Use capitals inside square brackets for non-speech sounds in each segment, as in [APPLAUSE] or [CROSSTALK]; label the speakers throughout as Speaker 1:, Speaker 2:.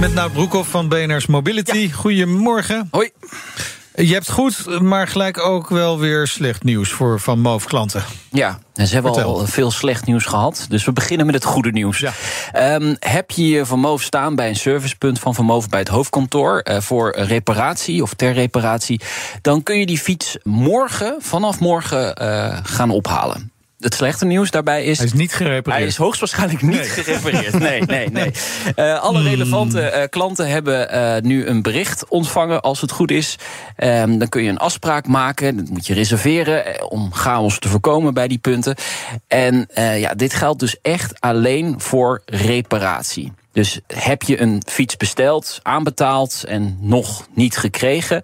Speaker 1: Met Nout Broekhoff van BNR's Mobility. Goedemorgen.
Speaker 2: Hoi.
Speaker 1: Je hebt goed, maar gelijk ook wel weer slecht nieuws voor van MOVE-klanten.
Speaker 2: Ja, en ze hebben
Speaker 1: Vertel.
Speaker 2: al veel slecht nieuws gehad. Dus we beginnen met het goede nieuws.
Speaker 1: Ja.
Speaker 2: Ehm, heb je je vermoof staan bij een servicepunt van vermoof bij het hoofdkantoor eh, voor reparatie of ter reparatie, dan kun je die fiets morgen, vanaf morgen, eh, gaan ophalen. Het slechte nieuws daarbij is.
Speaker 1: Hij is niet gerepareerd.
Speaker 2: Hij is hoogstwaarschijnlijk niet gerepareerd. Nee, nee, nee. Eh, alle relevante eh, klanten hebben eh, nu een bericht ontvangen. Als het goed is, Ehm, dan kun je een afspraak maken. Dat moet je reserveren eh, om chaos te voorkomen bij die punten. En eh, ja, dit geldt dus echt alleen voor reparatie. Dus heb je een fiets besteld, aanbetaald en nog niet gekregen,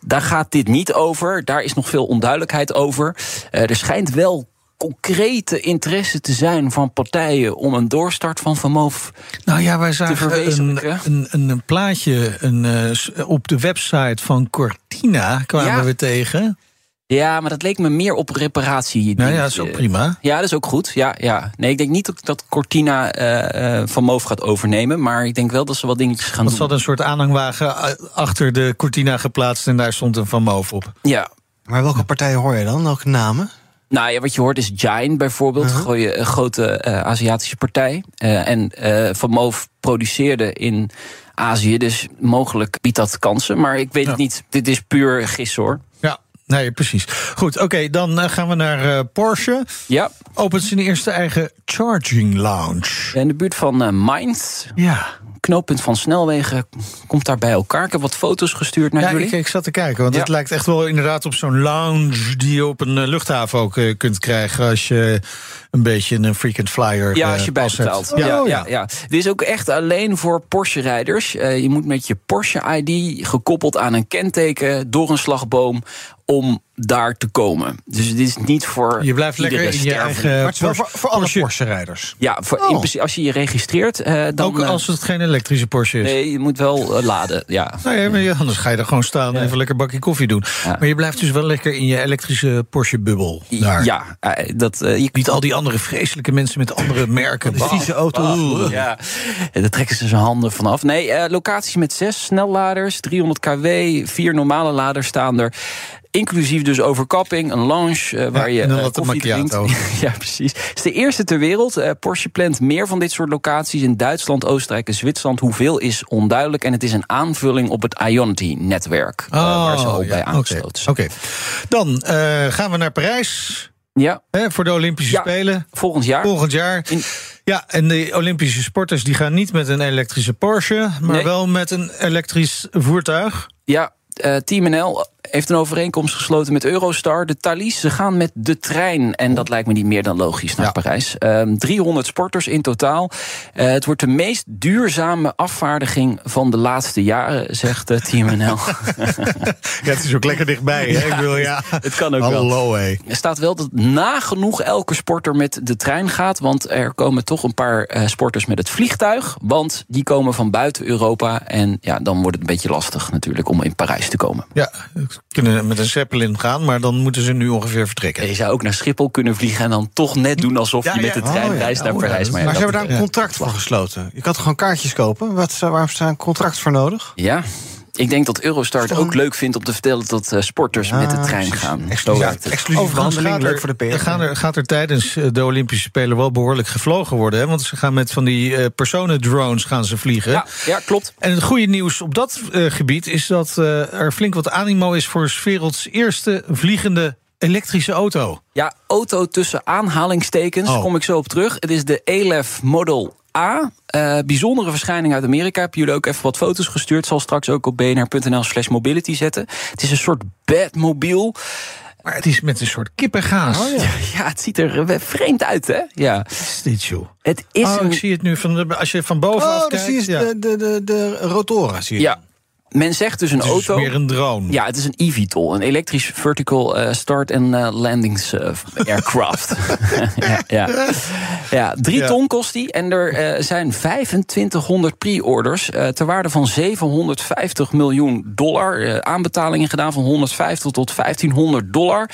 Speaker 2: daar gaat dit niet over. Daar is nog veel onduidelijkheid over. Eh, er schijnt wel concrete interesse te zijn van partijen om een doorstart van VanMoof.
Speaker 1: Nou ja, wij zagen een,
Speaker 2: verwezenlijken.
Speaker 1: een, een, een plaatje een, eh, s- op de website van Cortina kwamen
Speaker 2: Ja.
Speaker 1: we tegen.
Speaker 2: Ja, maar dat leek me meer op reparatie. eh.
Speaker 1: Nou ja, dat is ook prima.
Speaker 2: Ja, dat is ook goed. Ja, ja. Nee, ik denk niet dat, dat Cortina eh, eh, van Moof gaat overnemen. Maar ik denk wel dat ze wat dingetjes gaan
Speaker 1: Want ze
Speaker 2: doen.
Speaker 1: hadden een soort aanhangwagen eh, achter de Cortina geplaatst en daar stond een van MOVE op.
Speaker 2: Ja.
Speaker 3: Maar welke partijen hoor je dan? Welke namen?
Speaker 2: Nou ja, wat je hoort is Giant bijvoorbeeld.
Speaker 1: Uh-huh.
Speaker 2: gooie- een grote eh, Aziatische partij. Eh, en eh, Van Moof produceerde in Azië. Dus mogelijk biedt dat kansen. Maar ik weet het niet. Dit is puur gissen hoor.
Speaker 1: Ja, nee, precies. Goed, oké, dan eh, gaan we naar eh, Porsche.
Speaker 2: Ja,
Speaker 1: Opent zijn eerste eigen charging lounge.
Speaker 2: in de buurt van eh Mainz.
Speaker 1: Ja.
Speaker 2: Knooppunt van snelwegen komt daar bij elkaar. Ik heb wat foto's gestuurd naar
Speaker 1: Ja,
Speaker 2: jullie.
Speaker 1: ik, ik zat te kijken, want
Speaker 2: Ja.
Speaker 1: het lijkt echt wel inderdaad op zo'n lounge die je op een eh, luchthaven ook eh, kunt krijgen als je een beetje een frequent flyer
Speaker 2: Ja,
Speaker 1: eh,
Speaker 2: als je
Speaker 1: pas hebt.
Speaker 2: bijbetaalt. Ja,
Speaker 1: Oh,
Speaker 2: ja, ja. Dit is ook echt alleen voor Porsche-rijders. Eh, je moet met je Porsche-ID gekoppeld aan een kenteken door een slagboom om daar te komen. Dus dit is niet voor
Speaker 1: Je blijft lekker
Speaker 2: iedere
Speaker 1: in je
Speaker 2: sterveling.
Speaker 1: eigen
Speaker 3: maar het is wel
Speaker 1: Porsche-
Speaker 3: voor, voor alle
Speaker 1: Porsche.
Speaker 3: Porsche-rijders.
Speaker 2: Ja, voor, in
Speaker 3: Oh.
Speaker 2: principe, als je je registreert, eh, dan...
Speaker 1: Ook
Speaker 2: eh,
Speaker 1: als het geen elektrische Porsche is.
Speaker 2: nee, je moet wel eh, laden, ja.
Speaker 1: Nou ja, maar ja, anders ga je er gewoon staan en even lekker een bakje koffie doen.
Speaker 2: Ja.
Speaker 1: Maar je blijft dus wel lekker in je elektrische Porsche-bubbel. daar.
Speaker 2: Ja, eh, dat, eh, je
Speaker 1: Niet al die andere vreselijke mensen met
Speaker 2: [LAUGHS]
Speaker 1: andere merken.
Speaker 3: Die vieze auto. Oeh.
Speaker 2: Ja, en daar trekken ze zijn handen vanaf. Nee, eh, locaties met zes snelladers, 300 kW, vier normale laders staan er. Inclusief dus overkapping, een lounge eh, waar
Speaker 1: Ja,
Speaker 2: je
Speaker 1: en een
Speaker 2: eh,
Speaker 1: latte
Speaker 2: koffie drinkt. [LAUGHS]
Speaker 1: macchiato.
Speaker 2: ja, precies. Het is de eerste ter wereld. Eh, Porsche plant meer van dit soort locaties in Duitsland, Oostenrijk en Zwitserland. Hoeveel is onduidelijk. En het is een aanvulling op het Ionity-netwerk. eh, waar ze ook
Speaker 1: Oh, ja,
Speaker 2: bij
Speaker 1: oké,
Speaker 2: aangesloten
Speaker 1: Oké,
Speaker 2: zijn.
Speaker 1: dan eh, gaan we naar Parijs
Speaker 2: Ja,
Speaker 1: hè, voor de Olympische
Speaker 2: Ja.
Speaker 1: Spelen.
Speaker 2: volgend jaar.
Speaker 1: Volgend jaar.
Speaker 2: In-
Speaker 1: Ja, en de Olympische sporters die gaan niet met een elektrische Porsche, maar
Speaker 2: Nee.
Speaker 1: wel met een elektrisch voertuig.
Speaker 2: Ja, eh, Team NL heeft een overeenkomst gesloten met Eurostar. De Thalys, ze gaan met de trein. En dat lijkt me niet meer dan logisch naar
Speaker 1: Ja.
Speaker 2: Parijs. Ehm, 300 sporters in totaal. Eh, het wordt de meest duurzame afvaardiging van de laatste jaren, zegt eh, Team
Speaker 1: [LAUGHS]
Speaker 2: NL.
Speaker 1: Ja, het is ook lekker dichtbij. Hè? Ik bedoel, [LAUGHS] ja.
Speaker 2: het kan ook wel.
Speaker 1: Hallo, hé.
Speaker 2: Er staat wel dat nagenoeg elke sporter met de trein gaat. Want er komen toch een paar eh, sporters met het vliegtuig. Want die komen van buiten Europa. En ja, dan wordt het een beetje lastig natuurlijk om in Parijs te komen.
Speaker 1: Ja, ze kunnen met een Zeppelin gaan, maar dan moeten ze nu ongeveer vertrekken.
Speaker 2: Ja, Je zou ook naar Schiphol kunnen vliegen en dan toch net doen alsof
Speaker 1: Ja,
Speaker 2: je met
Speaker 1: ja.
Speaker 2: de trein
Speaker 3: Oh, ja.
Speaker 2: reist naar
Speaker 1: Oh, ja,
Speaker 2: Parijs.
Speaker 1: dat-
Speaker 2: maar ja,
Speaker 3: Maar ze
Speaker 2: dat-
Speaker 3: hebben daar een contract voor gesloten. Je kan toch gewoon kaartjes kopen? Wat, eh, waarom is daar een contract voor nodig?
Speaker 2: ja, ik denk dat Eurostar het
Speaker 3: Stel-
Speaker 2: ook leuk vindt om te vertellen dat eh, sporters met de trein
Speaker 3: precies.
Speaker 2: gaan. Zo
Speaker 3: Exclusief,
Speaker 2: werkt het.
Speaker 3: exclusief behandeling, leuk voor de
Speaker 1: er,
Speaker 3: PR.
Speaker 1: gaan er, gaat er tijdens eh, de Olympische Spelen wel behoorlijk gevlogen worden. Hè? Want ze gaan met van die eh personen-drones gaan ze vliegen.
Speaker 2: Ja, ja, klopt.
Speaker 1: En het goede nieuws op dat eh, gebied is dat eh, er flink wat animo is voor 's werelds eerste vliegende elektrische auto.
Speaker 2: Ja, auto tussen aanhalingstekens,
Speaker 1: Oh.
Speaker 2: kom ik zo op terug. Het is de ELEF Model A. Eh, bijzondere verschijning uit Amerika. Heb jullie ook even wat foto's gestuurd. Zal straks ook op bnr.nl slash mobility zetten. Het is een soort bedmobiel.
Speaker 1: Maar het is met een soort kippengaas.
Speaker 2: Oh, [LAUGHS] Ja. het ziet er eh, vreemd uit, hè? Ja.
Speaker 1: Is dit, joh?
Speaker 2: Het is
Speaker 1: Oh,
Speaker 2: een...
Speaker 1: ik zie het nu van de, als je van bovenaf
Speaker 3: Oh, dan
Speaker 1: kijkt.
Speaker 3: zie je
Speaker 1: ja.
Speaker 3: de, de, de, de rotoren. Zie je.
Speaker 2: Ja. men zegt dus een
Speaker 1: Het is
Speaker 2: auto.
Speaker 1: meer een drone.
Speaker 2: Ja, het is een eVTOL, een elektrisch vertical eh, start- en eh, landings eh,
Speaker 1: [LAUGHS]
Speaker 2: aircraft. [LAUGHS] ja, ja. ja, drie
Speaker 1: Ja.
Speaker 2: ton kost die en er eh, zijn 2500 pre-orders eh, ter waarde van 750 miljoen dollar. eh, aanbetalingen gedaan van 150 tot 1500 dollar.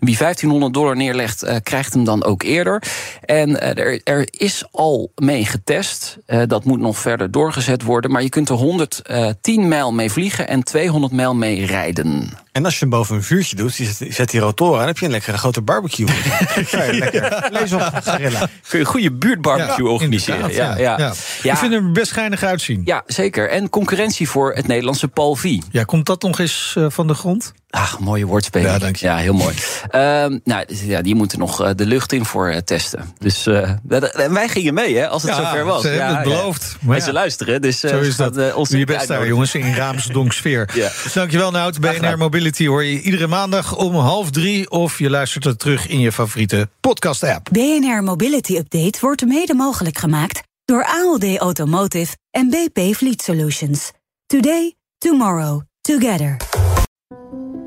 Speaker 2: Wie 1500 dollar neerlegt, eh, krijgt hem dan ook eerder. En eh, er, er is al mee getest. Eh, dat moet nog verder doorgezet worden. Maar je kunt er 110 mijl mee vliegen en 200 mijl mee rijden.
Speaker 3: En als je hem boven een vuurtje doet, je zet, je zet die rotoren aan, dan heb je een lekkere grote barbecue. ja, lekker. Lees op, grillen.
Speaker 2: Kun je een goede buurtbarbecue
Speaker 1: Ja,
Speaker 2: organiseren.
Speaker 1: inderdaad,
Speaker 2: ja, ja. Ja.
Speaker 1: Ik vind hem er best geinig uitzien. Ja.
Speaker 2: Ja, zeker. En concurrentie voor het Nederlandse Paul V.
Speaker 1: komt dat nog eens eh, van de grond?
Speaker 2: Ach, mooie woordspeling.
Speaker 1: Ja, dank je.
Speaker 2: heel mooi. Ehm, nou, dus ja, die moeten nog eh, de lucht in voor eh, testen. Dus eh, dat- en wij gingen mee, hè, als het
Speaker 1: Ja,
Speaker 2: zover was.
Speaker 1: ze hebben het beloofd. Maar
Speaker 2: En
Speaker 1: ja.
Speaker 2: ze luisteren, dus eh,
Speaker 1: Zo
Speaker 2: ze
Speaker 1: is
Speaker 2: gaan,
Speaker 1: dat.
Speaker 2: eh, ons
Speaker 1: Doe je
Speaker 2: niet
Speaker 1: best daar,
Speaker 2: uitnodigen.
Speaker 1: jongens, in Raamsdonksfeer.
Speaker 2: Ja.
Speaker 1: Dankjewel, Nout. BNR Mobility hoor je iedere maandag om half drie... of je luistert het terug in je favoriete podcast-app.
Speaker 4: BNR Mobility Update wordt mede mogelijk gemaakt door ALD Automotive en BP Fleet Solutions. Today, tomorrow, together.